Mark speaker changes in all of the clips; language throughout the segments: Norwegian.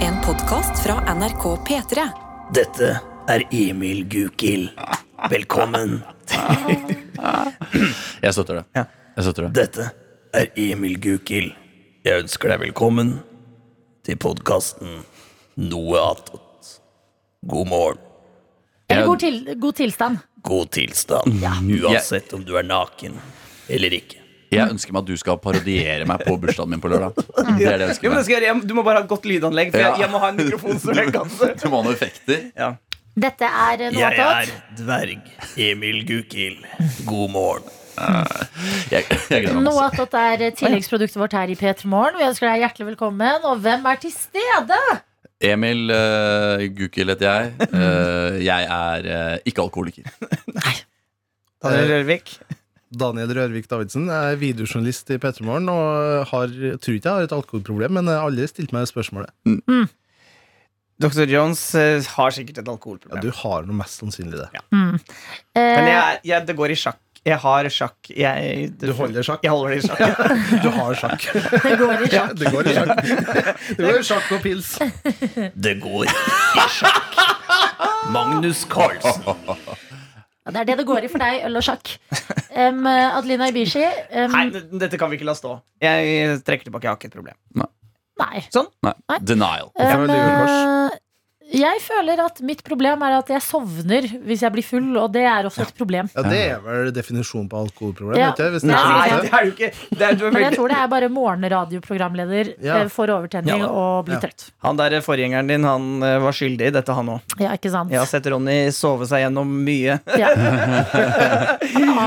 Speaker 1: En podkast fra NRK P3.
Speaker 2: Dette er Emil Gukild. Velkommen.
Speaker 3: Jeg støtter det. Jeg støtter det.
Speaker 2: Dette er Emil Gukild. Jeg ønsker deg velkommen til podkasten Noe attåt. God morgen,
Speaker 3: Jeg-
Speaker 4: Eller god, til, god tilstand.
Speaker 2: god tilstand, uansett om du er naken eller ikke.
Speaker 3: Jeg ønsker meg at du skal parodiere meg på bursdagen min på lørdag. Det er det jeg
Speaker 5: Mm. Jo,
Speaker 3: ønsker
Speaker 5: men det
Speaker 3: meg.
Speaker 5: skal jeg, gjøre. du må bare ha et godt lydanlegg, for
Speaker 3: Ja.
Speaker 5: jeg, jeg må ha en mikrofon som jeg kan se.
Speaker 3: Du må ha noen effekter.
Speaker 5: Ja.
Speaker 4: Dette er eh, noe
Speaker 2: Jeg
Speaker 4: attåt.
Speaker 2: er dverg Emil Gukild. God morgen.
Speaker 3: Jeg, jeg gleder meg
Speaker 4: Noe
Speaker 3: masse.
Speaker 4: attåt er eh, tilleggsproduktet vårt her i P3 Morgen. Vi ønsker deg hjertelig velkommen. Og hvem er til stede?
Speaker 3: Emil uh, Gukild heter jeg. Eh, jeg er eh, ikke alkoholiker.
Speaker 5: Daniel Rørvik.
Speaker 6: Daniel Rørvik Davidsen er videojournalist i P3 Morgen og har, jeg tror ikke jeg har et alkoholproblem, men alle stilte meg det spørsmålet.
Speaker 5: Dr. Jones eh, har sikkert et
Speaker 6: Ja,
Speaker 5: alkoholproblem.
Speaker 6: du har noe mest sannsynlig det.
Speaker 5: Men
Speaker 4: Eh,
Speaker 5: jeg, jeg, det går i sjakk. Jeg har sjakk. Jeg,
Speaker 6: Du holder sjakk?
Speaker 5: Jeg holder det i sjakk.
Speaker 6: Du har sjakk.
Speaker 4: det går i
Speaker 6: Ja,
Speaker 4: sjakk.
Speaker 6: det går i sjakk. Det går i sjakk og pils.
Speaker 2: Det går i sjakk. Magnus Carlsen.
Speaker 4: Eh, Ja, Det er det det går i for deg, øl og sjakk. Em, eh, Adelina Ibishi em,
Speaker 5: Nei, d- dette kan vi ikke la stå. Jeg eh, trekker tilbake. Jeg har ikke et problem.
Speaker 4: Nei.
Speaker 3: Nei. Denial.
Speaker 6: Ja,
Speaker 4: Em,
Speaker 6: det gjør
Speaker 4: eh, jeg føler at mitt problem er at jeg sovner hvis jeg blir full, og det er også et problem.
Speaker 6: Ja, det er vel definisjonen på alkoholproblem,
Speaker 4: Ja.
Speaker 6: ikke det? Hvis det er
Speaker 5: Nei,
Speaker 6: sånn at
Speaker 5: det
Speaker 6: det-
Speaker 5: er jo ikke det er, du
Speaker 4: Men jeg
Speaker 5: er veldig,
Speaker 4: tror det er bare morgenradioprogramleder
Speaker 6: Ja.
Speaker 4: eh, får overtenning
Speaker 2: Ja da.
Speaker 4: og blir
Speaker 6: Ja.
Speaker 4: trøtt.
Speaker 5: Han der forgjengeren din han eh, var skyldig i dette, han òg.
Speaker 4: Ja, ikke sant?
Speaker 5: Jeg har sett Ronny sove seg gjennom mye.
Speaker 4: Ja.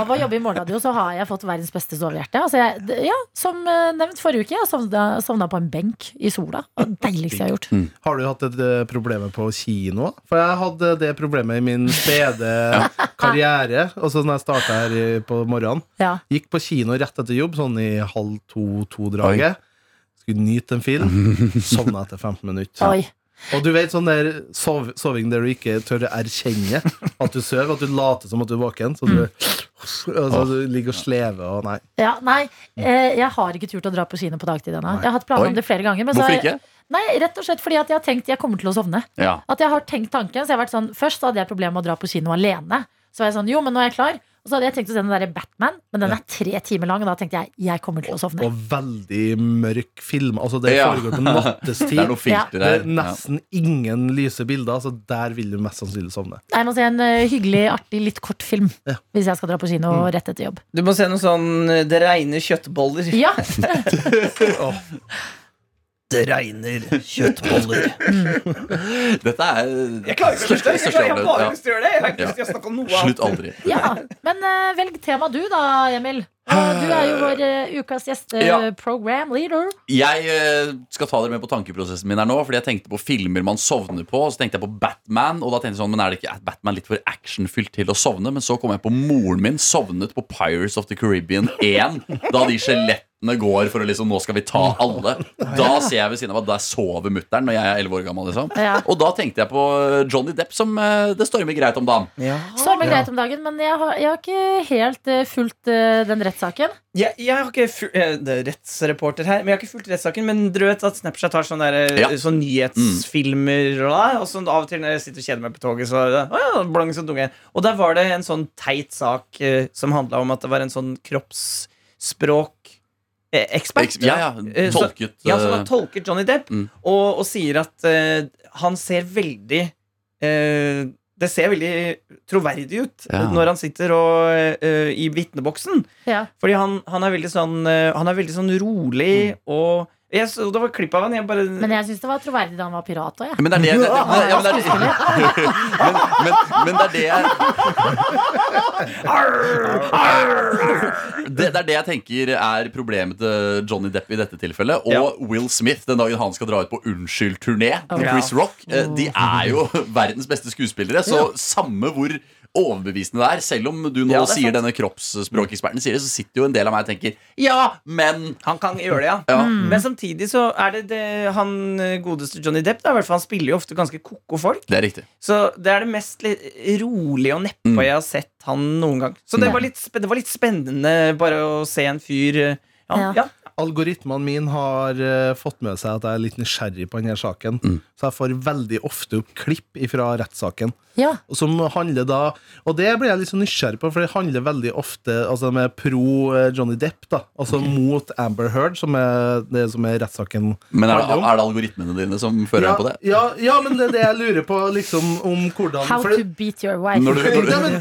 Speaker 4: Av å jobbe i morgenradio så har jeg fått verdens beste sovehjerte. Altså jeg, d- ja, som eh, nevnt forrige uke, jeg sovna, sovna på en benk i sola. Og det Deiligste jeg har gjort.
Speaker 3: Mm.
Speaker 6: Har du hatt det problemet på kino? For jeg hadde det problemet i min spede karriere. Altså når jeg starta her i- på morgenen.
Speaker 4: Ja.
Speaker 6: Gikk på kino rett etter jobb, sånn i halv to-to-draget. Skulle nyte en film. Sovna etter 15 minutter.
Speaker 4: Oi.
Speaker 6: Og du vet sånn der sov, soving der du ikke tør å erkjenne at du sover, at du later som at du er våken, så
Speaker 3: Mm.
Speaker 6: du, altså, du ligger og slever og nei.
Speaker 4: Ja, nei, eh, jeg har ikke turt å dra på kino på dagtid ennå. Jeg har hatt planer
Speaker 3: Oi.
Speaker 4: om det flere ganger. Men så har
Speaker 3: Hvorfor
Speaker 4: jeg-
Speaker 3: ikke?
Speaker 4: Nei, Rett og slett fordi at jeg har tenkt jeg kommer til å sovne.
Speaker 3: Ja.
Speaker 4: At jeg har tenkt tanken, så jeg har vært sånn Først så hadde jeg problemer med å dra på kino alene. Så var jeg sånn, jo, men nå er jeg klar. Og så hadde jeg tenkt å se den derre Batman, men den er tre timer lang, og da tenkte jeg jeg kommer til å sovne.
Speaker 6: Og veldig mørk film. Altså, det
Speaker 3: Ja.
Speaker 6: foregår på nattestid.
Speaker 3: Det er noe filter
Speaker 6: Det
Speaker 3: her.
Speaker 6: er nesten ingen lyse bilder, så der vil du mest sannsynlig sovne.
Speaker 4: Jeg må se en eh, hyggelig, artig, litt kort film
Speaker 6: Ja.
Speaker 4: hvis jeg skal dra på kino rett etter jobb.
Speaker 5: Du må se noe sånn eh, Det regner kjøttboller.
Speaker 4: Ja,
Speaker 2: Det regner kjøttboller.
Speaker 3: Ja. Dette er
Speaker 5: Jeg klarer ikke å slutte. Jeg,
Speaker 3: største
Speaker 5: klarer- jeg har bare
Speaker 3: opplevelse.
Speaker 5: lyst til å gjøre det. Jeg har ikke
Speaker 3: Ja.
Speaker 5: lyst til å snakke om noe
Speaker 3: Ja.
Speaker 5: annet.
Speaker 3: Slutt aldri.
Speaker 4: ja. Men eh, velg tema du da, Emil. Og du er jo vår eh, ukas
Speaker 3: Ja.
Speaker 4: gjesteprogram leader.
Speaker 3: Jeg eh, skal ta dere med på tankeprosessen min her nå. Fordi jeg tenkte på filmer man sovner på. Og så tenkte jeg på Batman. Og da tenkte jeg sånn, men er det ikke Batman litt for actionfylt til å sovne? Men så kom jeg på moren min sovnet på Pirates of the Caribbean 1. Da de skjelettene går for å liksom Nå skal vi ta alle. Da ser jeg ved siden av at der sover mutter'n når jeg er 11 år gammel. liksom
Speaker 4: Ja.
Speaker 3: Og da tenkte jeg på Johnny Depp, som eh, det stormer greit om dagen.
Speaker 5: Ja.
Speaker 4: Stormer greit om dagen, men jeg har, jeg har ikke helt eh, fulgt eh, den rettssaken.
Speaker 5: Jeg, jeg har ikke fu- eh, det er rettsreporter her, men jeg har ikke fulgt rettssaken. Men dere vet at Snapchat har sånne, der, eh,
Speaker 3: Ja.
Speaker 5: sånne nyhetsfilmer og, da, og sånn av og til når jeg sitter og kjeder meg på toget, så eh, «Å ja, blank som tunge. Og der var det en sånn teit sak eh, som handla om at det var en sånn kroppsspråk-ekspert.
Speaker 3: Eks- Ja, ja,
Speaker 5: Eh, så-
Speaker 3: tolket
Speaker 5: Ja, som
Speaker 3: eh,
Speaker 5: har tolket Johnny Depp
Speaker 3: Mm.
Speaker 5: og, og sier at eh, han ser veldig eh, Det ser veldig troverdig ut
Speaker 3: Ja.
Speaker 5: når han sitter og, eh, i vitneboksen.
Speaker 4: Ja.
Speaker 5: Fordi han, han er veldig sånn eh, Han er veldig sånn rolig og jeg så, Det var klipp av han jeg bare
Speaker 4: Men jeg syns det var troverdig da han var pirat òg, jeg.
Speaker 3: Men det er det, det, det, ja, men det, er det. Men, men, men det er det jeg det, det er det jeg tenker er problemet til Johnny Depp i dette tilfellet. Og
Speaker 5: Ja.
Speaker 3: Will Smith den dagen han skal dra ut på unnskyld-turné med
Speaker 5: Ja.
Speaker 3: Chris Rock. eh, De er jo verdens beste skuespillere, så samme hvor overbevisende det er. Selv om du nå
Speaker 5: Ja, det er
Speaker 3: sier
Speaker 5: sant.
Speaker 3: denne kroppsspråkeksperten sier det, så sitter jo en del av meg og tenker ja, men
Speaker 5: Han kan gjøre det, ja.
Speaker 3: Ja.
Speaker 4: Mm.
Speaker 5: Men samtidig så er det, det han eh, godeste Johnny Depp, da, i hvert fall, han spiller jo ofte ganske ko-ko folk.
Speaker 3: Det er riktig.
Speaker 5: Så det er det mest litt rolige og neppe jeg har sett han noen gang. Så det var litt, sp- det var litt spennende bare å se en fyr eh, Ja,
Speaker 4: Ja.
Speaker 5: ja.
Speaker 6: Algoritmene mine har eh, fått med seg at jeg er litt nysgjerrig på denne saken.
Speaker 3: Mm.
Speaker 6: Så jeg får veldig ofte opp klipp fra rettssaken.
Speaker 4: Ja.
Speaker 6: Og Som handler da Og det blir jeg litt sånn nysgjerrig på, for det handler veldig ofte Altså de er pro eh, Johnny Depp, da. Altså mot Amber Heard, som er det som er rettssaken.
Speaker 3: Men er det,
Speaker 6: handler om.
Speaker 3: er det algoritmene dine som fører
Speaker 6: ja,
Speaker 3: deg på det?
Speaker 6: ja, ja, men det er det jeg lurer på, liksom, om hvordan
Speaker 4: How
Speaker 6: for det-
Speaker 4: to beat your wife.
Speaker 3: Når du-
Speaker 6: Nei, men,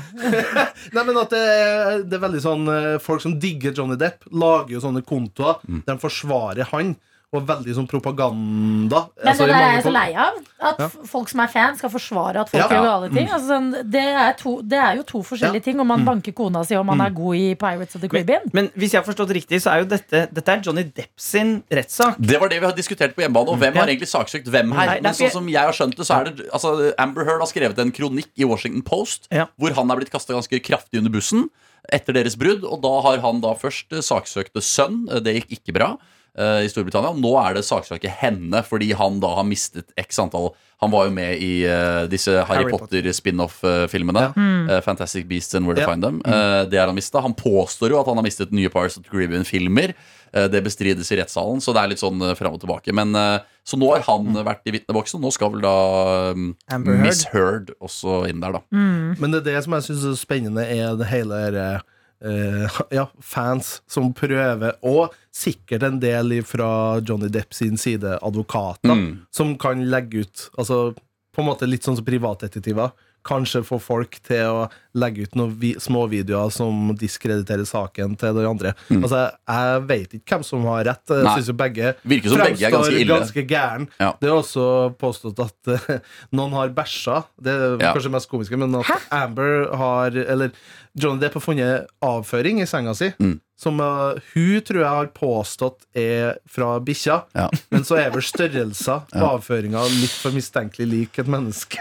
Speaker 6: nei, men at det, er- det er veldig sånn eh, Folk som digger Johnny Depp, lager jo sånne kontoer.
Speaker 3: Mm.
Speaker 6: De forsvarer han, og veldig sånn propaganda.
Speaker 4: Men
Speaker 6: Altså, i
Speaker 4: det der er
Speaker 6: mange
Speaker 4: jeg så
Speaker 6: folk-
Speaker 4: lei av. At f- folk som er fan, skal forsvare at folk
Speaker 6: Ja.
Speaker 4: gjør gale
Speaker 5: Mm.
Speaker 4: ting. Altså, sånn, det, er to, det er jo to forskjellige ting om man banker kona si og man er god i Pirates of the Caribbean.
Speaker 5: Mm. Men hvis jeg har forstått riktig, så er jo dette Dette er Johnny Depp sin rettssak.
Speaker 3: Det var det vi har diskutert på hjemmebane, og hvem har
Speaker 5: Ja.
Speaker 3: egentlig saksøkt hvem her?
Speaker 5: Nei, det er
Speaker 3: Men sånn
Speaker 5: ikke-
Speaker 3: som jeg har skjønt det, så er det altså, Amber Heard har skrevet en kronikk i Washington Post
Speaker 5: Ja.
Speaker 3: hvor han er blitt kasta ganske kraftig under bussen etter deres brudd, og da har han da først eh, saksøkte sønn, eh, det gikk ikke bra eh, i Storbritannia, og nå er det saksøke henne fordi han da har mistet x antall han var jo med i eh, disse Harry,
Speaker 5: Harry Potter. Mm.
Speaker 3: Potter-spin-off-filmene. eh, Fantastic Beasts and Where to
Speaker 6: Ja.
Speaker 3: Find Them. Eh, det har han mista. Han påstår jo at han har mistet nye Pirates of the Caribbean-filmer. Eh, det bestrides i rettssalen, så det er litt sånn eh, fram og tilbake. Men, eh, så nå har han eh, vært i vitneboksen, og nå skal vel da um,
Speaker 5: Mm. Amber Heard.
Speaker 3: Miss Heard også inn der, da.
Speaker 6: Men det er det som jeg syns er spennende, er det hele dette ja, fans som prøver, og sikkert en del fra Johnny Depp sin side, advokater,
Speaker 3: Mm.
Speaker 6: som kan legge ut Altså på en måte litt sånn som privatdetektiver. Kanskje få folk til å legge ut noen vi småvideoer som diskrediterer saken til de andre. Altså, Jeg veit ikke hvem som har rett. Jeg
Speaker 3: Mm. Nei.
Speaker 6: syns jo begge
Speaker 3: Virker som begge er ganske
Speaker 6: fremstår
Speaker 3: ille.
Speaker 6: ganske gæren.
Speaker 3: Ja.
Speaker 6: Det er også påstått at eh, noen har bæsja. Det er
Speaker 3: Ja.
Speaker 6: kanskje det mest komiske, men at Amber har Eller Johnny Depp har funnet avføring i senga si.
Speaker 3: Mm.
Speaker 6: Som eh, hun tror jeg har påstått er fra bikkja.
Speaker 3: Ja.
Speaker 6: Men så er vel størrelsen på avføringa litt for mistenkelig lik et menneske.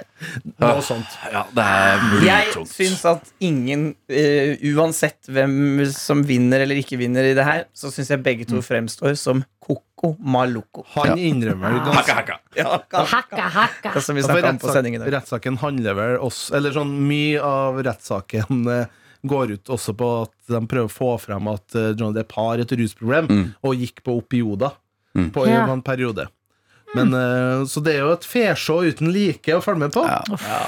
Speaker 6: Noe sånt.
Speaker 3: Ja, det er
Speaker 5: Jeg syns at ingen, eh, uansett hvem som vinner eller ikke vinner i det her, så syns jeg begge
Speaker 6: Mm.
Speaker 5: to fremstår som Coco Maluco.
Speaker 6: Han innrømmer ganske
Speaker 3: Hakka, hakka.
Speaker 5: Ja, kan,
Speaker 4: Hakka, hakka.
Speaker 5: det som vi
Speaker 6: Ja, for
Speaker 5: snakket om på
Speaker 6: rettssak-
Speaker 5: sendingen i dag.
Speaker 6: Rettssaken handler vel også Eller sånn mye av rettssaken eh, går ut også på at de prøver å få frem at eh, Johnny Depp har et rusproblem, og gikk på opioder på
Speaker 4: Ja.
Speaker 6: en periode. Men, eh, så det er jo et fesjå uten like å følge med på. Ja.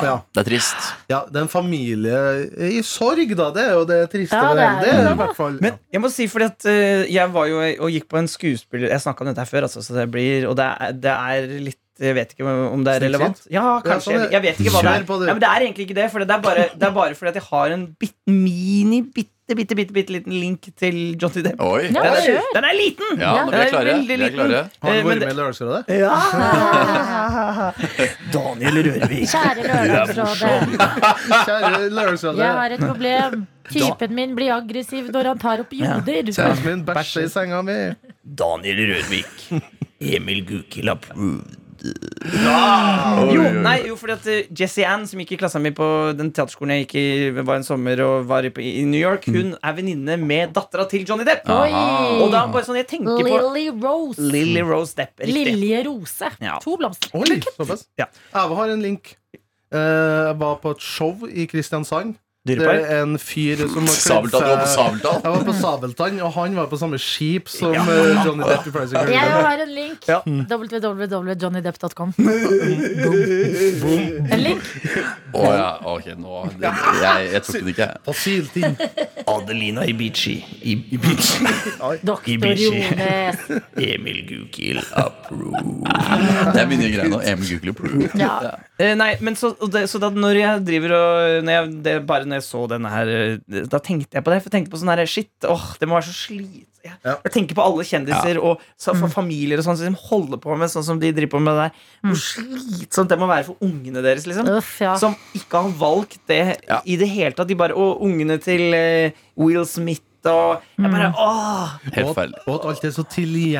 Speaker 6: Ja.
Speaker 3: Det er trist.
Speaker 6: det er en familie i sorg, da. Det er jo det triste.
Speaker 4: Ja,
Speaker 6: ved
Speaker 4: det er
Speaker 6: det,
Speaker 4: det,
Speaker 6: er
Speaker 4: da.
Speaker 6: i hvert fall.
Speaker 5: Men jeg må si fordi at eh, jeg var jo og gikk på en skuespiller Jeg snakka om dette her før, altså, så det blir Og det er, det er litt jeg vet ikke om det er
Speaker 6: Snikskryt?
Speaker 5: relevant. Ja, kanskje.
Speaker 6: sånn er
Speaker 5: jeg,
Speaker 6: det.
Speaker 5: jeg vet ikke hva det er.
Speaker 6: Kjør på, du.
Speaker 5: Nei, men det er egentlig ikke det. For det er bare, det er bare fordi at jeg har en bit, mini, bitte, bitte, bitte, bitte liten link til Johnny Depp.
Speaker 3: Oi.
Speaker 4: Ja.
Speaker 5: Den er,
Speaker 4: kjør.
Speaker 5: den er liten!
Speaker 3: Ja, nå
Speaker 5: Den
Speaker 3: vi er klare.
Speaker 5: veldig
Speaker 3: Vi er
Speaker 5: liten.
Speaker 3: klare.
Speaker 6: har
Speaker 5: Eh,
Speaker 6: han
Speaker 5: men
Speaker 6: vært
Speaker 5: det-
Speaker 6: med i Lørdagsrådet?
Speaker 5: Ja! Daniel Rørvik.
Speaker 4: Ah. Kjære Lørdagsrådet.
Speaker 6: Kjære Lørdagsrådet.
Speaker 4: Jeg har et problem. Typen min blir aggressiv når han tar opp joder.
Speaker 6: Kjæresten min bæsjer i senga mi.
Speaker 2: Daniel Rørvik. Emil Gukild approved.
Speaker 5: Jo, nei, jo, fordi at eh, Jessie Ann, som gikk i klassen min på den teaterskolen jeg gikk i var en sommer og var i, i New York, hun er venninne med dattera til Johnny Depp.
Speaker 4: Oi.
Speaker 5: Og da bare sånn, jeg tenker på
Speaker 4: Lily Rose.
Speaker 5: Lily Rose Depp. Riktig.
Speaker 4: Lilje Rose.
Speaker 5: Ja.
Speaker 4: To blomster.
Speaker 6: Oi, såpass.
Speaker 5: Ja.
Speaker 6: Jeg har en link. Eh, Jeg var på et show i Kristiansand. Det
Speaker 5: Dyrepark.
Speaker 6: er en fyr som har kledd
Speaker 3: Sabeltann, du var på Sabeltann.
Speaker 6: seg Jeg var på Sabeltann, og han var på samme skip som eh, Johnny Depp i Price of
Speaker 4: Jeg
Speaker 6: Caribbean.
Speaker 4: har en link.
Speaker 5: Ja.
Speaker 4: www.johnnydepp.com. En link.
Speaker 3: Å ja, ok, nå Jeg, jeg tok den ikke.
Speaker 6: På Syltin.
Speaker 2: Adelina Ibici. I-
Speaker 4: Doktor
Speaker 2: Ibishi.
Speaker 4: Jones.
Speaker 2: Emil Gukild approved.
Speaker 3: Det er mine greier nå. Emil Google approved.
Speaker 4: Ja.
Speaker 5: Eh, nei, men så, og det, så da når jeg driver og når jeg, det, Bare når jeg så denne her eh, Da tenkte jeg på det. For jeg tenkte på sånn her Shit, åh, det må være så slit jeg,
Speaker 6: Ja.
Speaker 5: jeg tenker på alle kjendiser og så, for familier og sånn som holder på med sånn som de driver på med det der. Hvor slitsomt det må være for ungene deres, liksom.
Speaker 4: Uff, ja.
Speaker 5: Som ikke har valgt det
Speaker 3: Ja.
Speaker 5: i det hele tatt. De bare Og ungene til eh, Will Smith og Jeg
Speaker 4: Mm.
Speaker 5: bare åh
Speaker 3: Helt
Speaker 6: Og,
Speaker 3: feil.
Speaker 6: og at alt er så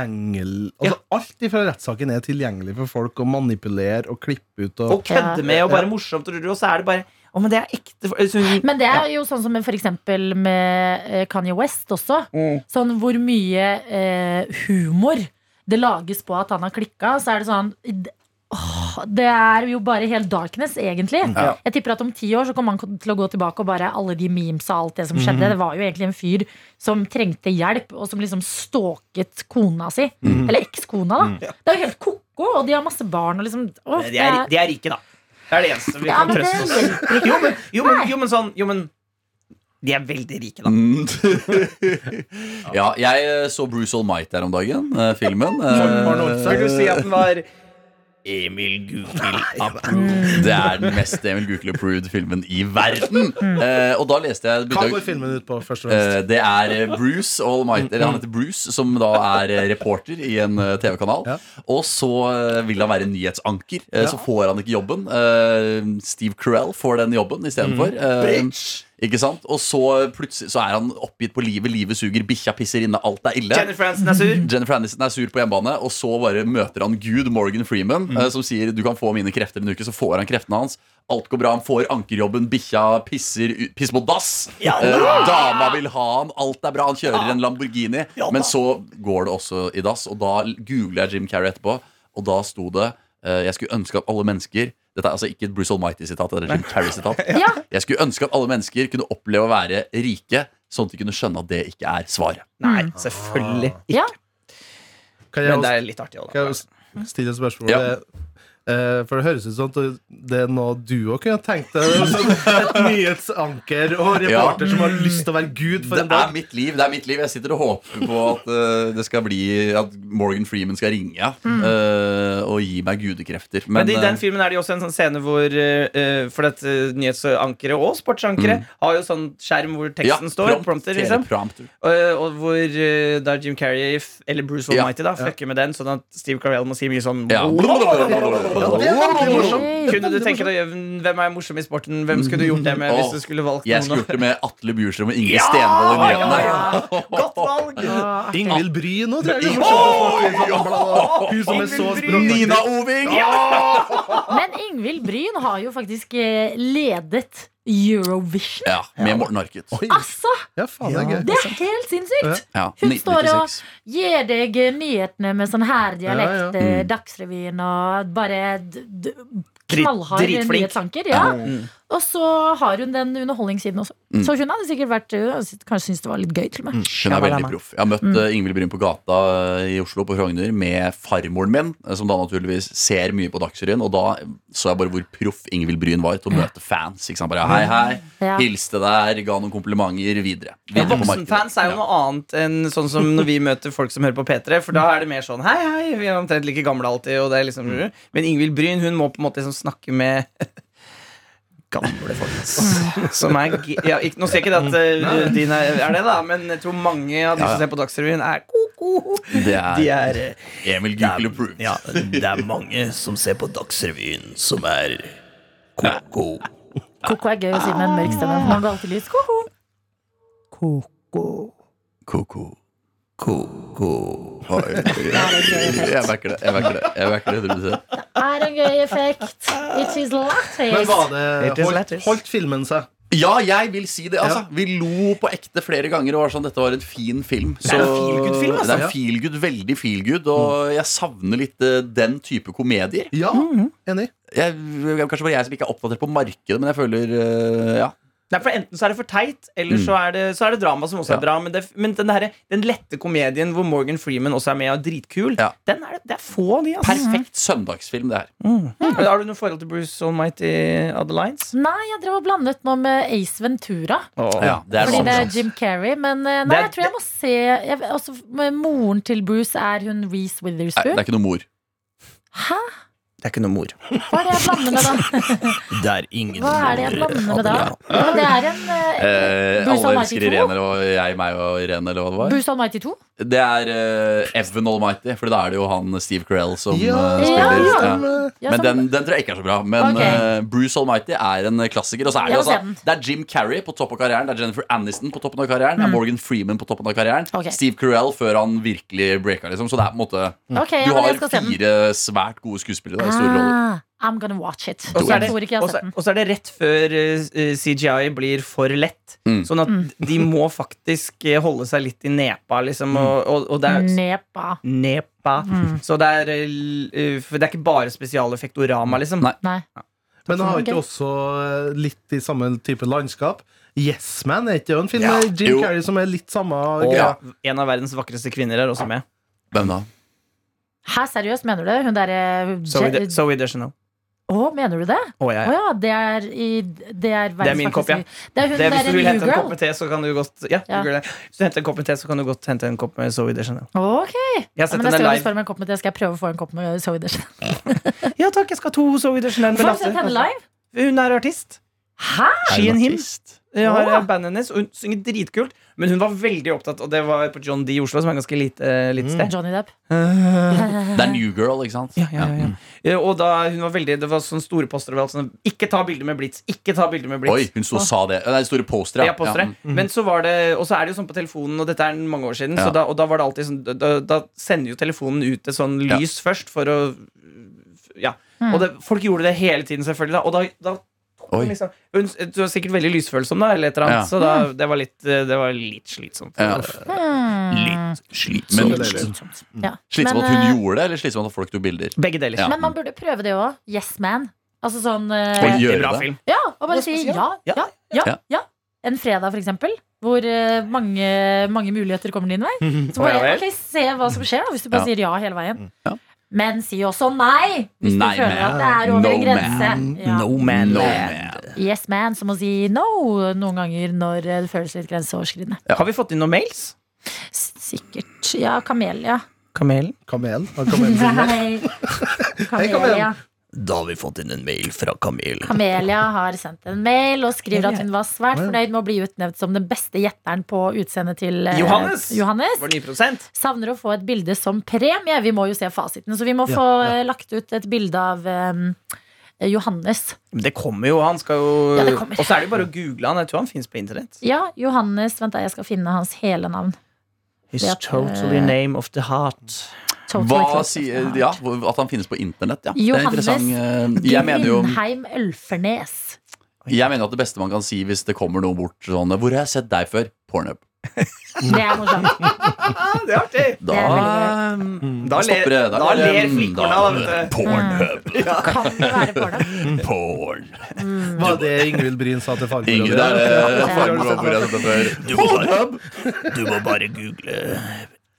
Speaker 6: tilgjengelig Altså Alt fra rettssaken er tilgjengelig for folk å manipulere og klippe ut.
Speaker 5: Og
Speaker 6: Og,
Speaker 5: kødde med og bare morsomt, og så er det bare Å, men det er ekte så hun,
Speaker 4: Men det er jo sånn som for eksempel med eh, Kanye West også.
Speaker 5: Mm.
Speaker 4: Sånn hvor mye eh, humor det lages på at han har klikka. Så er det sånn i d- Det er jo bare helt darkness, egentlig.
Speaker 5: Mm.
Speaker 4: Jeg tipper at om ti år så kommer man til å gå tilbake og bare alle de memes og alt det som
Speaker 5: Mm.
Speaker 4: skjedde. Det var jo egentlig en fyr som trengte hjelp, og som liksom stalket kona si.
Speaker 5: Mm.
Speaker 4: Eller ekskona, da. Det er jo helt ko-ko, og de har masse barn og liksom åh,
Speaker 5: De
Speaker 4: det er-
Speaker 5: er, de er rike, da. Det er det eneste vi
Speaker 4: Ja,
Speaker 5: kan
Speaker 4: men det
Speaker 5: trøste oss med.
Speaker 4: hjelper
Speaker 5: Jo, men, jo, men,
Speaker 4: Nei.
Speaker 5: jo, men sånn Jo, men De er veldig rike, da.
Speaker 3: ja, jeg eh, så Bruce Almighty her om dagen, eh, filmen. Eh,
Speaker 5: Vil du si at den var Emil Gukild
Speaker 3: approved. Det er den mest Emil Gukild approved filmen i verden.
Speaker 5: Mm.
Speaker 3: Eh, og da leste jeg
Speaker 6: Hva
Speaker 3: begynte
Speaker 6: går
Speaker 3: jeg-
Speaker 6: filmen ut på, først og fremst?
Speaker 3: Eh, Det er eh, Bruce Almighty eller Han heter Bruce, som da er eh, reporter i en eh, TV-kanal.
Speaker 6: Ja.
Speaker 3: Og så eh, vil han være nyhetsanker. eh, Så får han ikke jobben. Eh, Steve Carell får den jobben istedenfor. Mm. Ikke sant? Og så eh, plutselig så er han oppgitt på livet. Livet suger, bikkja pisser inne, alt er ille.
Speaker 5: Jennifer Aniston er sur.
Speaker 3: Jennifer Aniston er sur på hjemmebane, og så bare møter han Gud, Morgan Freeman, eh, som sier 'du kan få mine krefter en uke', så får han kreftene hans. Alt går bra, han får ankerjobben, bikkja pisser, u- pisser på dass. Eh, dama vil ha han, alt er bra, han kjører en Lamborghini. Men så går det også i dass, og da googler jeg Jim Carrey etterpå, og da sto det eh, 'jeg skulle ønske at alle mennesker' dette er altså ikke et Bruce Almighty-sitat, det er et Jim Carrey-sitat.
Speaker 4: Ja.
Speaker 3: Jeg skulle ønske at alle mennesker kunne oppleve å være rike, sånn at de kunne skjønne at det ikke er svaret.
Speaker 5: Nei, selvfølgelig ikke.
Speaker 4: ja.
Speaker 6: Kan jeg
Speaker 5: Men det
Speaker 6: også-
Speaker 5: er litt artig òg,
Speaker 6: kan jeg
Speaker 5: da.
Speaker 6: også stille et spørsmål?
Speaker 3: Ja.
Speaker 6: Det- eh, For det høres ut som at det er noe du òg kunne tenkt deg. Sånn Et nyhetsanker og reporter som har lyst til å være gud for
Speaker 3: det
Speaker 6: en dag.
Speaker 3: er mitt liv. det er mitt liv Jeg sitter og håper på at eh, det skal bli At Morgan Freeman skal ringe eh, og gi meg gudekrefter. Men,
Speaker 5: Mm. Men i den
Speaker 3: eh,
Speaker 5: filmen er det jo også en sånn scene hvor eh, eh, For at eh, nyhetsankere og sportsankere har jo sånn skjerm hvor
Speaker 3: Mm.
Speaker 5: teksten
Speaker 3: ja,
Speaker 5: står.
Speaker 3: prompt,
Speaker 5: Prompter, liksom.
Speaker 3: teleprompter.
Speaker 5: Og, og hvor eh, da Jim Carrey f- eller Bruce
Speaker 3: Ja.
Speaker 5: Almighty da fucker med den, sånn at Steve Carell må si mye sånn
Speaker 3: Ja.
Speaker 5: Kunne du tenke deg Hvem er morsom i sporten? Hvem skulle du gjort det med hvis du skulle valgt
Speaker 3: Jeg skulle
Speaker 5: noen?
Speaker 3: gjort det med Atle Bjurstrøm og Ingrid Stenvold i nyhetene.
Speaker 5: Godt valg!
Speaker 6: Ingvild Bry nå, tror jeg.
Speaker 3: Ja.
Speaker 6: sånn Hun som er så
Speaker 5: Ingvild Bry.
Speaker 6: språkaktig.
Speaker 3: Nina Oving!
Speaker 4: Men Ingvild Bryn har jo faktisk eh, ledet Eurovision.
Speaker 3: Ja, med Morten Harket.
Speaker 6: Oi.
Speaker 4: Altså!
Speaker 6: Ja, faen, det er
Speaker 4: Det
Speaker 6: gøy.
Speaker 4: er helt sinnssykt!
Speaker 3: Ja,
Speaker 4: Hun står og
Speaker 3: 1996.
Speaker 4: gir deg nyhetene med sånn her
Speaker 6: Ja, ja.
Speaker 4: dialekt, eh, Dagsrevyen og bare d- d-
Speaker 5: Drit-
Speaker 4: knallhard
Speaker 5: dritflink. Mm.
Speaker 4: nyhetsanker. Ja. Og så har hun den underholdningssiden også. Så hun hadde sikkert vært hun hadde sikkert- Kanskje syntes det var litt gøy, til og
Speaker 5: Mm.
Speaker 4: med.
Speaker 3: Hun er veldig proff. Jeg har møtt eh, Ingvild Bryn på gata eh, i Oslo på Frogner med farmoren min, eh, som da naturligvis ser mye på Dagsrevyen. Og da så jeg bare hvor proff Ingvild Bryn var til å møte fans. Ikke sant? Bare hei, hei,
Speaker 4: Ja.
Speaker 3: hilste der, ga noen komplimenter videre.
Speaker 5: Ja,
Speaker 3: videre på markedet.
Speaker 5: Voksenfans er jo noe annet enn sånn som når vi møter folk som hører på P3. For da er det mer sånn hei, hei, vi er omtrent like gamle alltid. Og det er liksom,
Speaker 3: Mm.
Speaker 5: men Ingvild Bryn hun må på en måte liksom snakke med gamle folk. ass. Som er g- ja, ikke, Nå ser jeg ikke det at eh, din er, er det, da, men jeg tror mange av de som ser på Dagsrevyen, er ko-ko.
Speaker 3: Det er
Speaker 5: De er eh,
Speaker 3: Emil Gukild approved.
Speaker 2: Ja, det er mange som ser på Dagsrevyen, som er ko-ko.
Speaker 4: Koko er gøy å si med en mørk stemme. for Man går alltid lys. Koko.
Speaker 3: Ko-ko.
Speaker 2: Ko-ko.
Speaker 3: Oi, Jeg backer det. Jeg backer det. Jeg backer det 100%.
Speaker 4: Er en gøy effekt. It is
Speaker 6: Men
Speaker 4: lattes.
Speaker 5: It
Speaker 6: var det
Speaker 5: is
Speaker 6: holdt,
Speaker 5: letters.
Speaker 6: holdt filmen seg?
Speaker 3: Ja, jeg vil si det. Altså.
Speaker 6: Ja.
Speaker 3: Vi lo på ekte flere ganger og var sånn dette var en fin film. Så,
Speaker 5: er en feelgood-film, altså.
Speaker 3: Det er en feelgood, veldig feelgood, og jeg savner litt eh, den type komedier.
Speaker 6: Ja, enig.
Speaker 3: Jeg, kanskje bare jeg som ikke er oppdatert på markedet, men jeg føler eh, ja.
Speaker 5: Nei, for Enten så er det for teit, eller så, er det, så er det drama som
Speaker 3: Mm.
Speaker 5: også
Speaker 3: Ja.
Speaker 5: er bra. Men, det, men den, derre- den lette komedien hvor Morgan Freeman også er med og er dritkul,
Speaker 3: Ja.
Speaker 5: den er, det- det er få av de. ass.
Speaker 3: Perfekt søndagsfilm, det her.
Speaker 5: Har du noe forhold til Bruce Almighty uh, Adelines?
Speaker 4: Nei, jeg drev og blandet nå med Ace Ventura.
Speaker 3: Ja, det er
Speaker 4: Fordi det er
Speaker 3: sånn.
Speaker 4: Jim Carrey. Men eh,
Speaker 5: Det
Speaker 4: nei,
Speaker 5: er-
Speaker 4: jeg tror jeg må se jeg, også, Moren til Bruce, er hun Reece
Speaker 3: Nei, det
Speaker 4: Witherspoon?
Speaker 3: er ikke noe mor.
Speaker 4: Hæ?
Speaker 5: Det er ikke noe mor.
Speaker 4: Hva er det jeg blander med da?
Speaker 2: Det er ingen
Speaker 4: Hva er det jeg
Speaker 2: andre
Speaker 4: blander med da?
Speaker 2: Adrian.
Speaker 4: Ja, Det er en eh,
Speaker 3: Eh,
Speaker 4: Bruce
Speaker 3: alle
Speaker 4: Almighty
Speaker 3: elsker
Speaker 4: 2.
Speaker 3: Irene og jeg, meg og Irene, eller hva det var.
Speaker 4: Bruce Almighty 2?
Speaker 3: Det er eh, Evan Almighty, for da er det jo han Steve Carell som
Speaker 6: Ja,
Speaker 3: eh,
Speaker 6: eh,
Speaker 3: spiller.
Speaker 4: ja.
Speaker 3: Ja.
Speaker 4: Ja,
Speaker 3: Men
Speaker 4: sånn.
Speaker 3: den, den tror jeg ikke er så bra. Men
Speaker 4: Ok.
Speaker 3: eh, Bruce Almighty er en klassiker. Og så er det,
Speaker 4: Jeg må se
Speaker 3: altså,
Speaker 4: den.
Speaker 3: det er Jim Carrey på topp av karrieren. Det er Jennifer Aniston på toppen av karrieren. Det er Morgan Freeman på toppen av karrieren.
Speaker 4: Mm. Ok.
Speaker 3: Steve Carell før han virkelig breaka, liksom. Så det er på en måte
Speaker 4: Ok, ja,
Speaker 3: Du
Speaker 4: men
Speaker 3: har
Speaker 4: jeg skal se den.
Speaker 3: fire svært gode skuespillere da, i store roller.
Speaker 4: Ah, I'm gonna watch it.
Speaker 5: Og så er
Speaker 4: Jeg
Speaker 5: det,
Speaker 4: tror ikke jeg
Speaker 5: og
Speaker 4: har
Speaker 5: så-
Speaker 4: sett den.
Speaker 5: og så er det rett før eh, CGI blir for lett.
Speaker 3: Mm.
Speaker 5: Sånn at
Speaker 4: Mm.
Speaker 3: Mm.
Speaker 5: de må faktisk eh, holde seg litt i nepa, liksom. Og, og, og det er
Speaker 4: Nepa.
Speaker 5: Nepa. pappa.
Speaker 4: Mm.
Speaker 5: Så det er, eh, for det er ikke bare spesialeffektorama, liksom.
Speaker 3: Nei.
Speaker 4: Nei.
Speaker 6: Men har
Speaker 4: Ok.
Speaker 6: ikke også eh, litt i samme type landskap? Yes Man er ikke det en film
Speaker 5: Ja,
Speaker 6: med Jim
Speaker 3: jo.
Speaker 6: Carrey som er litt samme
Speaker 5: Og
Speaker 6: greia?
Speaker 5: en av verdens vakreste kvinner er også med.
Speaker 3: Hvem da?
Speaker 4: Hæ, seriøst, mener du det? Hun derre
Speaker 5: Zoe De- Zoe Deschanel.
Speaker 4: Å, mener du det?
Speaker 5: Å, ja,
Speaker 4: Å
Speaker 5: ja.
Speaker 4: ja, det er i Det er,
Speaker 5: Det er min kopp, ja.
Speaker 4: Det er hun
Speaker 5: Det, er- hvis
Speaker 4: der
Speaker 5: du vil
Speaker 4: New
Speaker 5: hente en kopp
Speaker 4: Girl.
Speaker 5: med te, så kan du godt Ja,
Speaker 4: Ja.
Speaker 5: du gjør det. Hvis du henter en kopp med te, så kan du godt hente en kopp med Zoe Deschanel.
Speaker 4: Ok,
Speaker 5: Jeg har
Speaker 4: ja,
Speaker 5: sett
Speaker 4: men da
Speaker 5: henne
Speaker 4: skal jeg
Speaker 5: live.
Speaker 4: spørre om en kopp med det. Skal jeg prøve å få en kopp med Zoe Deschanel?
Speaker 5: Ja takk, jeg skal ha to Zoe Deschanel. med
Speaker 4: Får jeg
Speaker 5: latter,
Speaker 4: sett henne
Speaker 5: kanskje.
Speaker 4: live?
Speaker 5: Hun er artist.
Speaker 4: Hæ?
Speaker 5: She and him. Jeg har
Speaker 4: Åh.
Speaker 5: bandet hennes, og hun synger dritkult. Men hun var veldig opptatt, og det var på John D i Oslo, som er ganske lite, eh, lite sted.
Speaker 4: Johnny Depp.
Speaker 3: Det er New Girl, ikke sant?
Speaker 5: Ja, ja, ja, ja.
Speaker 3: Mm.
Speaker 5: Eh, Og da hun var veldig, det var sånne store poster overalt. Sånn, ikke ta bilder med blits! Ikke ta bilder med blits!
Speaker 3: Oi, mm. hun sto og sa det. Nei, store postere.
Speaker 5: Ja, postere.
Speaker 4: Mm.
Speaker 5: Men så var det Og så er det jo sånn på telefonen, og dette er mange år siden,
Speaker 3: Ja.
Speaker 5: så da, og da var det alltid sånn Da, da sender jo telefonen ut et sånn
Speaker 3: Ja.
Speaker 5: lys først for å Ja.
Speaker 4: Mm.
Speaker 5: Og det, folk gjorde det hele tiden, selvfølgelig, da, og da, da tok hun
Speaker 3: Oi.
Speaker 5: Liksom, hun, du var sikkert veldig lysfølsom, da, eller et eller annet.
Speaker 3: Ja.
Speaker 5: Så da,
Speaker 4: Mm.
Speaker 5: det, var litt, det var litt slitsomt.
Speaker 3: Ja.
Speaker 4: Hmm.
Speaker 2: Litt slitsomt.
Speaker 3: Men
Speaker 6: Sånn er det.
Speaker 4: Slitsomt. Ja.
Speaker 3: slitsomt at
Speaker 4: Men, eh,
Speaker 3: hun gjorde det, eller slitsomt at folk tok bilder?
Speaker 5: Begge deler.
Speaker 3: Ja.
Speaker 4: Men man burde prøve det òg. Yes man. Altså sånn eh,
Speaker 3: Oi, gjøre
Speaker 5: bra
Speaker 3: det.
Speaker 5: film.
Speaker 4: Ja, og bare
Speaker 5: Det er
Speaker 4: si
Speaker 5: spesielt.
Speaker 4: ja,
Speaker 5: Ja.
Speaker 4: ja, ja,
Speaker 3: Ja.
Speaker 4: ja. En fredag, for eksempel, hvor eh, mange, mange muligheter kommer din vei. Så
Speaker 5: Å, ja
Speaker 4: bare
Speaker 5: vel.
Speaker 4: ok, se hva som skjer, da, hvis du
Speaker 3: Ja. Mm.
Speaker 4: bare sier ja hele veien.
Speaker 3: Ja.
Speaker 4: Men si også nei hvis du
Speaker 3: Nei,
Speaker 4: føler
Speaker 3: man.
Speaker 4: at det er over
Speaker 3: No,
Speaker 4: en grense.
Speaker 3: man.
Speaker 4: Ja.
Speaker 5: man
Speaker 3: No,
Speaker 5: land.
Speaker 3: man.
Speaker 4: Yes man, som å si no noen ganger når eh, det føles litt grenseoverskridende.
Speaker 5: Har vi fått inn noen mails?
Speaker 4: S- Sikkert. Ja, Kamelia.
Speaker 5: Kamelen?
Speaker 6: Kamelen? Har kamelen sin navn? Hei,
Speaker 4: Kamelia.
Speaker 6: Kamelia.
Speaker 2: Da har vi fått inn en mail fra Kamel.
Speaker 4: Kamelia har sendt en mail og skriver at hun var svært
Speaker 6: Ja.
Speaker 4: fornøyd med å bli utnevnt som den beste gjetteren på utseendet til eh,
Speaker 5: Johannes!
Speaker 4: Johannes.
Speaker 5: Vår nye produsent?
Speaker 4: Savner å få et bilde som premie. Vi må jo se fasiten, så vi må
Speaker 6: Ja,
Speaker 4: få
Speaker 6: ja.
Speaker 4: eh, lagt ut et bilde av eh, Johannes.
Speaker 5: Men Det kommer jo, han skal jo
Speaker 4: Ja, det kommer.
Speaker 5: Øh, Og så er det jo bare å google han. Jeg tror han fins på internett.
Speaker 4: Ja, Johannes. Vent, da, jeg skal finne hans hele navn.
Speaker 5: His
Speaker 4: Det at,
Speaker 5: totally
Speaker 4: eh,
Speaker 5: name of the heart.
Speaker 4: Totally
Speaker 3: Hva
Speaker 4: close
Speaker 3: sier
Speaker 4: of the
Speaker 3: Ja,
Speaker 4: heart.
Speaker 3: hvor- at han finnes på internett, ja.
Speaker 4: Johannes
Speaker 3: det er interessant. eh, Jeg mener jo
Speaker 4: Grindheim Ølfernes.
Speaker 3: jeg mener at det beste man kan si hvis det kommer noen bort sånn Hvor har jeg sett deg før? Pornhub.
Speaker 4: Det er morsomt.
Speaker 5: Ja, det er artig!
Speaker 4: Det er
Speaker 3: Da
Speaker 5: Mm. Da
Speaker 3: stopper
Speaker 5: ler,
Speaker 3: det. Da
Speaker 5: da
Speaker 3: er det-
Speaker 5: ler flikkorna, da, vet du.
Speaker 2: Pornhub.
Speaker 4: Kan det være porno?
Speaker 5: Mm.
Speaker 2: Porn.
Speaker 6: Var det Ingvild Bryn sa til farmor?
Speaker 3: Ingrid
Speaker 6: og det?
Speaker 3: er eh,
Speaker 4: Ja.
Speaker 3: farmor og hvor har jeg sett deg før?
Speaker 2: Du må bare, du må bare google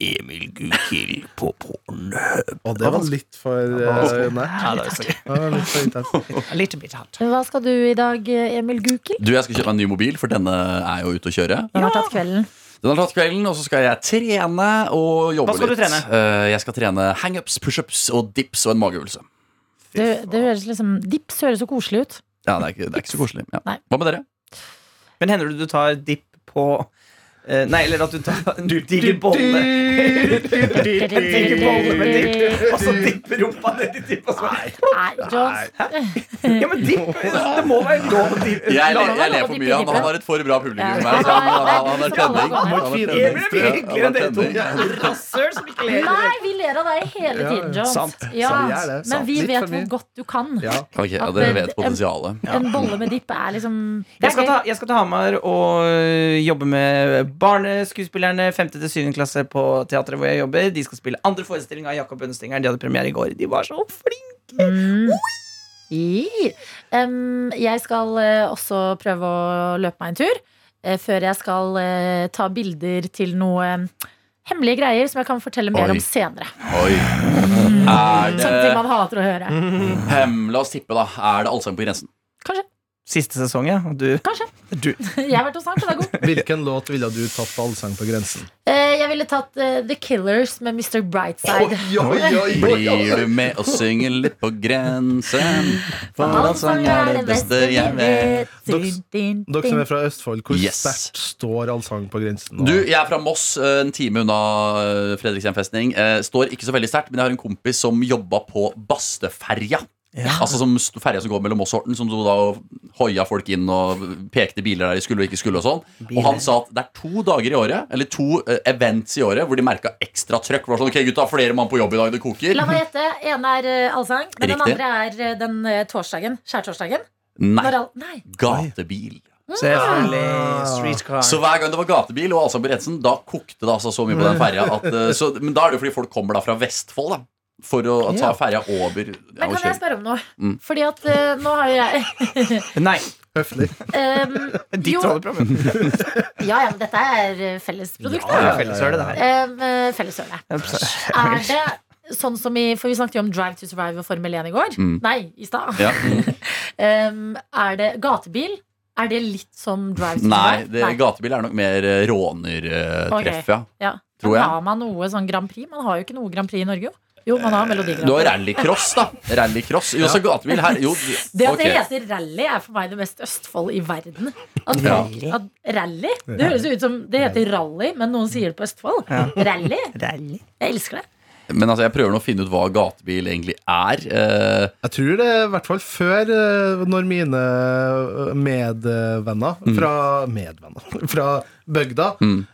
Speaker 2: Emil Gukild på Pornhub.
Speaker 6: Å, det var litt for eh, nært.
Speaker 5: Ja, det er så gøy.
Speaker 6: Det var litt for intenst.
Speaker 5: A little bit hard.
Speaker 4: Hva skal du i dag, Emil Gukild?
Speaker 3: Du, jeg skal kjøpe meg en ny mobil, for denne er jo ute å kjøre.
Speaker 4: Den har tatt kvelden.
Speaker 3: Den har tatt kvelden, og så skal jeg trene og jobbe litt.
Speaker 5: Hva skal du trene?
Speaker 3: Eh, jeg skal trene hangups, pushups og dips og en mageøvelse.
Speaker 4: Det, det høres liksom Dips høres så koselig ut.
Speaker 3: Ja, det er ikke, det er ikke så koselig. Ja.
Speaker 4: Nei.
Speaker 3: Hva med dere?
Speaker 5: Men hender det du tar dipp på eh, Nei, eller at du tar en diger bolle. Digger bolle med dipp, og så dipper rumpa ned i dipp. Og så.
Speaker 4: Nei, Jones.
Speaker 5: Ja, men dipp, det må være lov å dippe.
Speaker 3: Jeg, le,
Speaker 4: la-
Speaker 3: jeg ler
Speaker 4: la-
Speaker 3: for
Speaker 4: de
Speaker 3: mye. Han,
Speaker 4: piper.
Speaker 3: han har et for bra publikum.
Speaker 4: Ja.
Speaker 3: her, så han, han, han, han er tenning.
Speaker 4: Han
Speaker 6: må
Speaker 3: Han er
Speaker 6: ikke
Speaker 3: tenning.
Speaker 5: Emil er mye hyggeligere enn dere to.
Speaker 3: Ja, han er tenning.
Speaker 5: Rasshøl som ikke ler.
Speaker 4: Nei, vi ler av deg hele
Speaker 6: Ja,
Speaker 4: tiden,
Speaker 6: ja.
Speaker 4: Jones.
Speaker 5: Sant.
Speaker 4: Ja,
Speaker 6: Sant, vi er det.
Speaker 4: men
Speaker 6: Sant.
Speaker 4: vi
Speaker 6: Litt
Speaker 4: vet
Speaker 6: for mye.
Speaker 4: hvor godt du kan.
Speaker 6: Ja.
Speaker 3: Ok, ja, Dere vet potensialet.
Speaker 4: En bolle med dipp er liksom det
Speaker 5: Jeg
Speaker 4: er
Speaker 5: skal,
Speaker 4: gøy.
Speaker 5: ta, jeg skal til Hamar og øh, jobbe med barneskuespillerne. 5. til 7. klasse på teatret hvor jeg jobber. De skal spille andre forestilling av Jakob Ønstengeren. De hadde premiere i går. De var så flinke!
Speaker 4: Mm. I. Em, jeg skal eh, også prøve å løpe meg en tur eh, før jeg skal eh, ta bilder til noe em, hemmelige greier som jeg kan fortelle mer
Speaker 3: Oi.
Speaker 4: om senere.
Speaker 3: Oi.
Speaker 6: Eh.
Speaker 3: Er
Speaker 4: Sånne ting
Speaker 3: det
Speaker 4: man hater å høre.
Speaker 6: Mm.
Speaker 3: Hem, La oss tippe, da. Er det Allsang på grensen?
Speaker 4: Kanskje.
Speaker 5: Siste sesong, ja. Og du,
Speaker 4: Kanskje.
Speaker 5: du
Speaker 4: Jeg har vært hos han pedagog.
Speaker 6: Hvilken låt ville du tatt på Allsang på grensen?
Speaker 4: Eh, jeg ville tatt eh, The Killers med Mr. Brightside.
Speaker 3: Blir du med og synger litt på grensen? For allsang er det beste jeg vet.
Speaker 6: Dere-
Speaker 4: Din, din,
Speaker 6: Dere som
Speaker 4: din.
Speaker 6: er fra Østfold, hvor
Speaker 3: Yes.
Speaker 6: sterkt står Allsang på grensen? nå?
Speaker 3: Du, jeg er fra Moss, eh, en time unna eh, Fredrikshjem festning. Eh, Står ikke så veldig sterkt, men jeg har en kompis som jobba på Basteferja. Altså som st- ferja som går mellom Moss og Horten, som sto da og hoia folk inn og pekte biler der de skulle og ikke skulle og sånn. Og han sa at det er to dager i året, eller to eh, events i året, hvor de merka ekstra trøkk. Det var Sånn, ok gutta, flere mann på jobb i dag, det koker.
Speaker 4: La meg gjette. Ene er eh, allsang, men den
Speaker 3: Riktig.
Speaker 4: andre er eh, den eh, torsdagen. Skjærtorsdagen.
Speaker 3: Nei,
Speaker 4: Når all- Nei.
Speaker 3: gatebil.
Speaker 4: Ah.
Speaker 5: Selvfølgelig. Streetcar.
Speaker 3: Så hver gang det var gatebil og Asa Beretsen, da kokte det altså så mye på den ferja. At, eh, så, men da er det jo fordi folk kommer da fra Vestfold, da. For å ta ferja over. Ja,
Speaker 4: Men
Speaker 3: og
Speaker 4: kan jeg
Speaker 3: kjøre.
Speaker 4: spørre om noe?
Speaker 3: Mm.
Speaker 4: Fordi at eh, nå har jo jeg
Speaker 5: Nei,
Speaker 6: Høflig.
Speaker 4: um,
Speaker 5: ditt
Speaker 4: Jo.
Speaker 5: radioprogram.
Speaker 4: Ja, ja, men dette er eh, fellesprodukt.
Speaker 5: Ja,
Speaker 4: da.
Speaker 5: felles er det der.
Speaker 4: Um, eh, Felleshjørnet.
Speaker 5: Jeg
Speaker 4: Er det sånn som i For vi snakket jo om Drive to Survive og Formel 1 i går.
Speaker 3: Mm.
Speaker 4: Nei, i stad.
Speaker 3: Ja. mm.
Speaker 4: Um, er det gatebil? Er det litt som Drive to
Speaker 3: Nei,
Speaker 4: Survive?
Speaker 3: det, gatebil er nok mer eh, rånertreff,
Speaker 4: Ok.
Speaker 3: ja.
Speaker 4: Ja.
Speaker 3: tror
Speaker 4: Men
Speaker 3: jeg.
Speaker 4: Har man noe sånn Grand Prix? Man har jo ikke noe Grand Prix i Norge, jo. Jo, man har Melodi
Speaker 3: Du
Speaker 4: Grand
Speaker 3: har
Speaker 4: Prix.
Speaker 3: rallycross, da. Rallycross. Jo, så gatebil her Jo,
Speaker 4: Det at
Speaker 3: ok.
Speaker 4: det heter rally, er for meg det mest Østfold i verden. At,
Speaker 3: Ja.
Speaker 4: at rally Det høres jo ut som det heter rally, men noen sier det på Østfold. Rally. Jeg elsker det.
Speaker 3: Men altså, jeg prøver nå å finne ut hva gatebil egentlig er. Eh,
Speaker 6: Jeg tror det i hvert fall før, eh, når mine eh, medvenner
Speaker 3: Mm.
Speaker 6: fra Medvenner fra bygda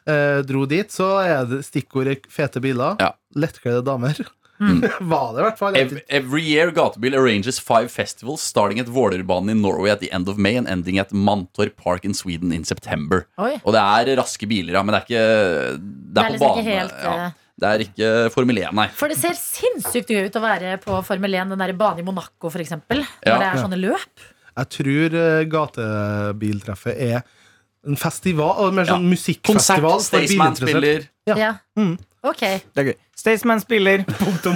Speaker 6: eh, dro dit, så er det stikkordet fete biler,
Speaker 3: Ja. Mm.
Speaker 6: lettkledde damer. Var det i hvert fall.
Speaker 3: Ev- Every year Gatebil arranges five festivals, starting at Vålerbanen i Norway at the end of May and ending at Mantorp Park in Sweden in September.
Speaker 4: Oi.
Speaker 3: Og det er raske biler, ja, men det er ikke Det er,
Speaker 4: Det er
Speaker 3: på
Speaker 4: liksom
Speaker 3: bane.
Speaker 4: ikke helt,
Speaker 3: ja.
Speaker 4: eh,
Speaker 3: Det er ikke Formel 1, nei.
Speaker 4: For det ser sinnssykt gøy ut å være på Formel 1, den der banen i Monaco f.eks. Når
Speaker 3: Ja.
Speaker 4: det er sånne løp.
Speaker 6: Jeg tror eh, gatebiltreffet er en festival, eller mer sånn
Speaker 3: Konsert,
Speaker 6: musikkfestival. for
Speaker 3: Staysman
Speaker 6: bilinteresserte.
Speaker 3: spiller.
Speaker 6: Ja.
Speaker 4: Ja. Ok.
Speaker 5: Det er gøy. Staysman spiller. Punktum.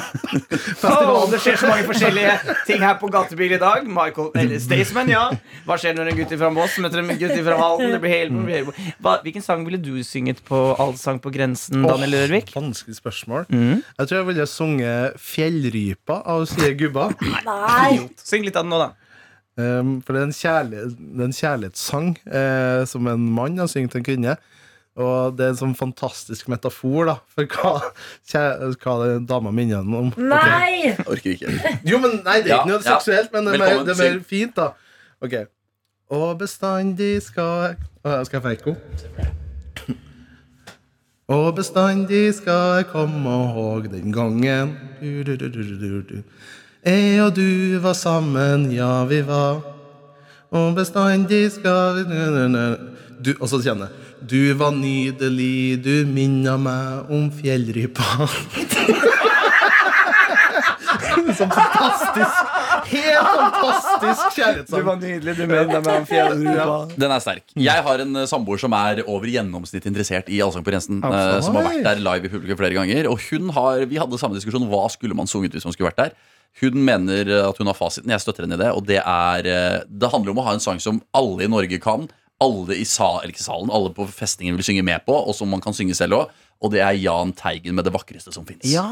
Speaker 5: Oh, det skjer så mange forskjellige ting her på Gatebil i dag. Michael, eller Staysman, ja. Hva skjer når en gutt fra Moss møter en gutt fra Halden? Det blir helt, det blir helt. Hva, hvilken sang ville du synget på Allsang på grensen, Daniel
Speaker 6: Åh,
Speaker 5: Rørvik?
Speaker 6: Vanskelig spørsmål.
Speaker 3: Mm.
Speaker 6: Jeg tror jeg ville sunget 'Fjellrypa' av Sier Gubba.
Speaker 4: Nei!
Speaker 5: Syng litt av den nå, da.
Speaker 6: Um, for det er en, kjærlig, det er en kjærlighetssang eh, som en mann har syngt til en kvinne. Og det er en sånn fantastisk metafor da, for hva, kjæ- hva det dama minner henne om. Ok.
Speaker 4: Nei!
Speaker 3: Orker ikke.
Speaker 6: Jo, men nei, det er
Speaker 3: Ja,
Speaker 6: ikke noe
Speaker 3: ja.
Speaker 6: seksuelt, men det er, mer,
Speaker 3: Velkommen,
Speaker 6: det er mer fint, da. Ok. Og bestandig skal jeg Å, jeg Skal jeg få ekko? Og bestandig skal jeg komme ihåg den gangen du, du, du, du, du, du. Jeg og du var sammen, ja, vi var. Og bestandig skal vi nø, nø, nø. Du, Og så kjenner jeg. Du var nydelig, du minna meg om fjellrypa. Sånn fantastisk. Helt fantastisk kjærlighetssang.
Speaker 5: nydelig, du minner meg om fjellrupa.
Speaker 3: Den er sterk.
Speaker 5: Mm.
Speaker 3: Jeg har en eh, samboer som er over gjennomsnitt interessert i Allsang på Rensen. eh, som har vært der live i publikum flere ganger. Og hun har, vi hadde samme diskusjon. Hva skulle man sunget hvis man skulle vært der? Hun mener eh, at hun har fasiten. Jeg støtter henne i det. Og det er eh, Det handler om å ha en sang som alle i Norge kan. Alle i sa- eller ikke salen, alle på festningen vil synge med på, og som man kan synge selv òg. Og det er Jahn Teigen med 'Det vakreste som fins'.
Speaker 5: Ja,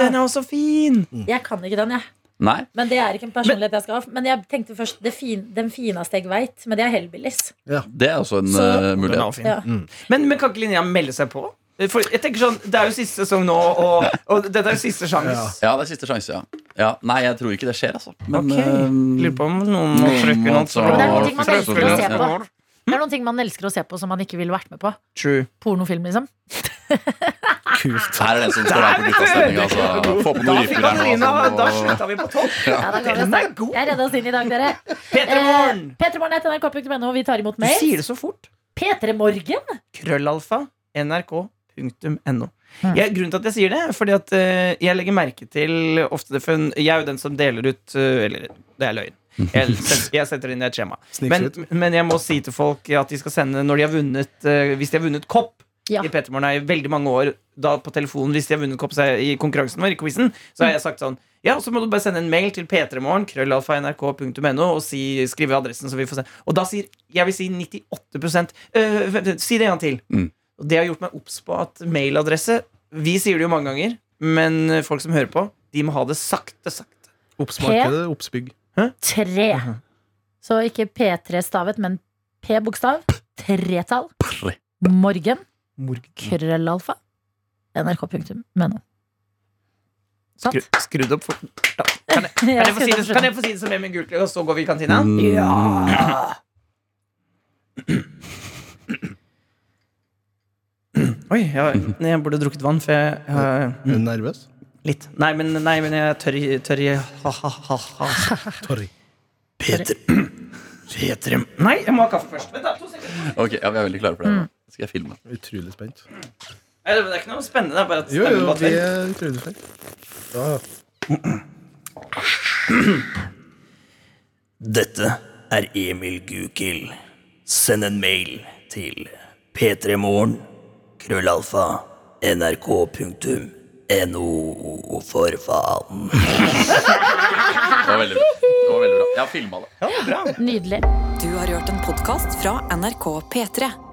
Speaker 5: den er også fin!
Speaker 4: Jeg kan ikke den, jeg.
Speaker 3: Nei?
Speaker 4: Men det er ikke en personlighet jeg skal ha. Men jeg tenkte først det fin, den fineste jeg veit, men det er Hellbillies.
Speaker 3: Det er også en
Speaker 4: Så-
Speaker 3: eh,
Speaker 5: Den er
Speaker 3: mulighet.
Speaker 5: også fin.
Speaker 4: Ja. Mm.
Speaker 5: Men, men kan ikke Linnea melde seg på? For jeg tenker sånn, Det er jo siste sesong nå, og, og dette er jo siste sjanse.
Speaker 6: Ja.
Speaker 3: Ja, det er siste sjanse, ja. ja. Nei, jeg tror ikke det skjer, altså. Men
Speaker 5: Ok.
Speaker 3: eh,
Speaker 5: Lurer på om noen
Speaker 3: Noen
Speaker 5: trykker
Speaker 3: må
Speaker 5: noen
Speaker 3: ta-
Speaker 4: Men det er noen ting man
Speaker 3: Trøffel,
Speaker 4: elsker å
Speaker 3: ja.
Speaker 4: se på. Det er noen ting man elsker å se på som man ikke ville vært med på.
Speaker 5: True.
Speaker 4: Pornofilm, liksom.
Speaker 3: Her er den som står her på guttastemninga. Altså. Få på
Speaker 5: Da
Speaker 3: noen
Speaker 5: fikk
Speaker 3: ryper her nå.
Speaker 5: Katarina, da
Speaker 3: Altså, og-
Speaker 5: slutta vi på topp.
Speaker 4: Ja, da går det
Speaker 5: Den er
Speaker 4: sterkt.
Speaker 5: god.
Speaker 4: Jeg redda oss inn i dag, dere. Eh,
Speaker 5: Petremorgen.
Speaker 4: P3morgen.nrk.no. Vi tar imot
Speaker 5: Du sier
Speaker 4: mail.
Speaker 5: det så fort.
Speaker 4: P3morgen.
Speaker 5: Krøllalfa. NRK.no. Jeg, grunnen til at jeg sier det, er fordi at eh, jeg legger merke til ofte det fun, Jeg er jo den som deler ut eh, Eller, det er løgn. Jeg, set- jeg setter det inn i et skjema. Men,
Speaker 6: Snikskryt.
Speaker 5: men jeg må si til folk at de skal sende når de har vunnet, eh, hvis de har vunnet kopp.
Speaker 4: Ja.
Speaker 5: I Petermorgen har jeg i veldig mange år da på telefonen hvis de har vunnet kopp seg i konkurransen vår, i quizen, så har jeg sagt sånn ja, så må du bare sende en mail til p3morgen, krøllalfa.nrk.no, og si, skrive adressen, så vi får se. Og da sier jeg vil si 98 øh, vent, vent, Si det en gang til.
Speaker 3: Mm.
Speaker 5: Og det har gjort meg obs på at mailadresse Vi sier det jo mange ganger, men folk som hører på, de må ha det sakte, sakte.
Speaker 6: Oppsmarkedet, oppsbygg.
Speaker 4: Tre. Så ikke P3 stavet, men P-bokstav. Tretall.
Speaker 3: Tre.
Speaker 4: Morgen.
Speaker 5: Morgen.
Speaker 4: Krøllalfa. NRK.no. Sant?
Speaker 5: Skru, skru det opp fort. Da. Kan jeg, kan, jeg få si det, kan jeg få si det som Emil Gultli, og så går vi i kantina?
Speaker 6: Mm.
Speaker 5: Ja! Oi, jeg, jeg burde drukket vann, for jeg jeg-
Speaker 6: Er du nervøs?
Speaker 5: Litt. Nei, men, nei, men jeg er tørr i tørr i ha, ha, ha, ha.
Speaker 6: Torry.
Speaker 2: Peter
Speaker 5: Petrem. Nei, jeg må ha kaffe først. Vent da, to sekunder.
Speaker 3: Ok, ja, vi er veldig klare for det. Skal jeg filme?
Speaker 6: Utrolig spent.
Speaker 5: Nei, Det er ikke noe spennende. Det er bare at
Speaker 6: Jo,
Speaker 5: stemmen
Speaker 6: jo,
Speaker 5: bare
Speaker 6: vi
Speaker 5: tell.
Speaker 6: er utrolig spent. Ja.
Speaker 2: Dette er Emil Gukild. Send en mail til p3morgen, krøllalfa, nrk.no, for faen.
Speaker 3: Det var veldig bra. Det var veldig bra. Jeg har filma det.
Speaker 1: Nydelig. Du har hørt en podkast fra NRK P3.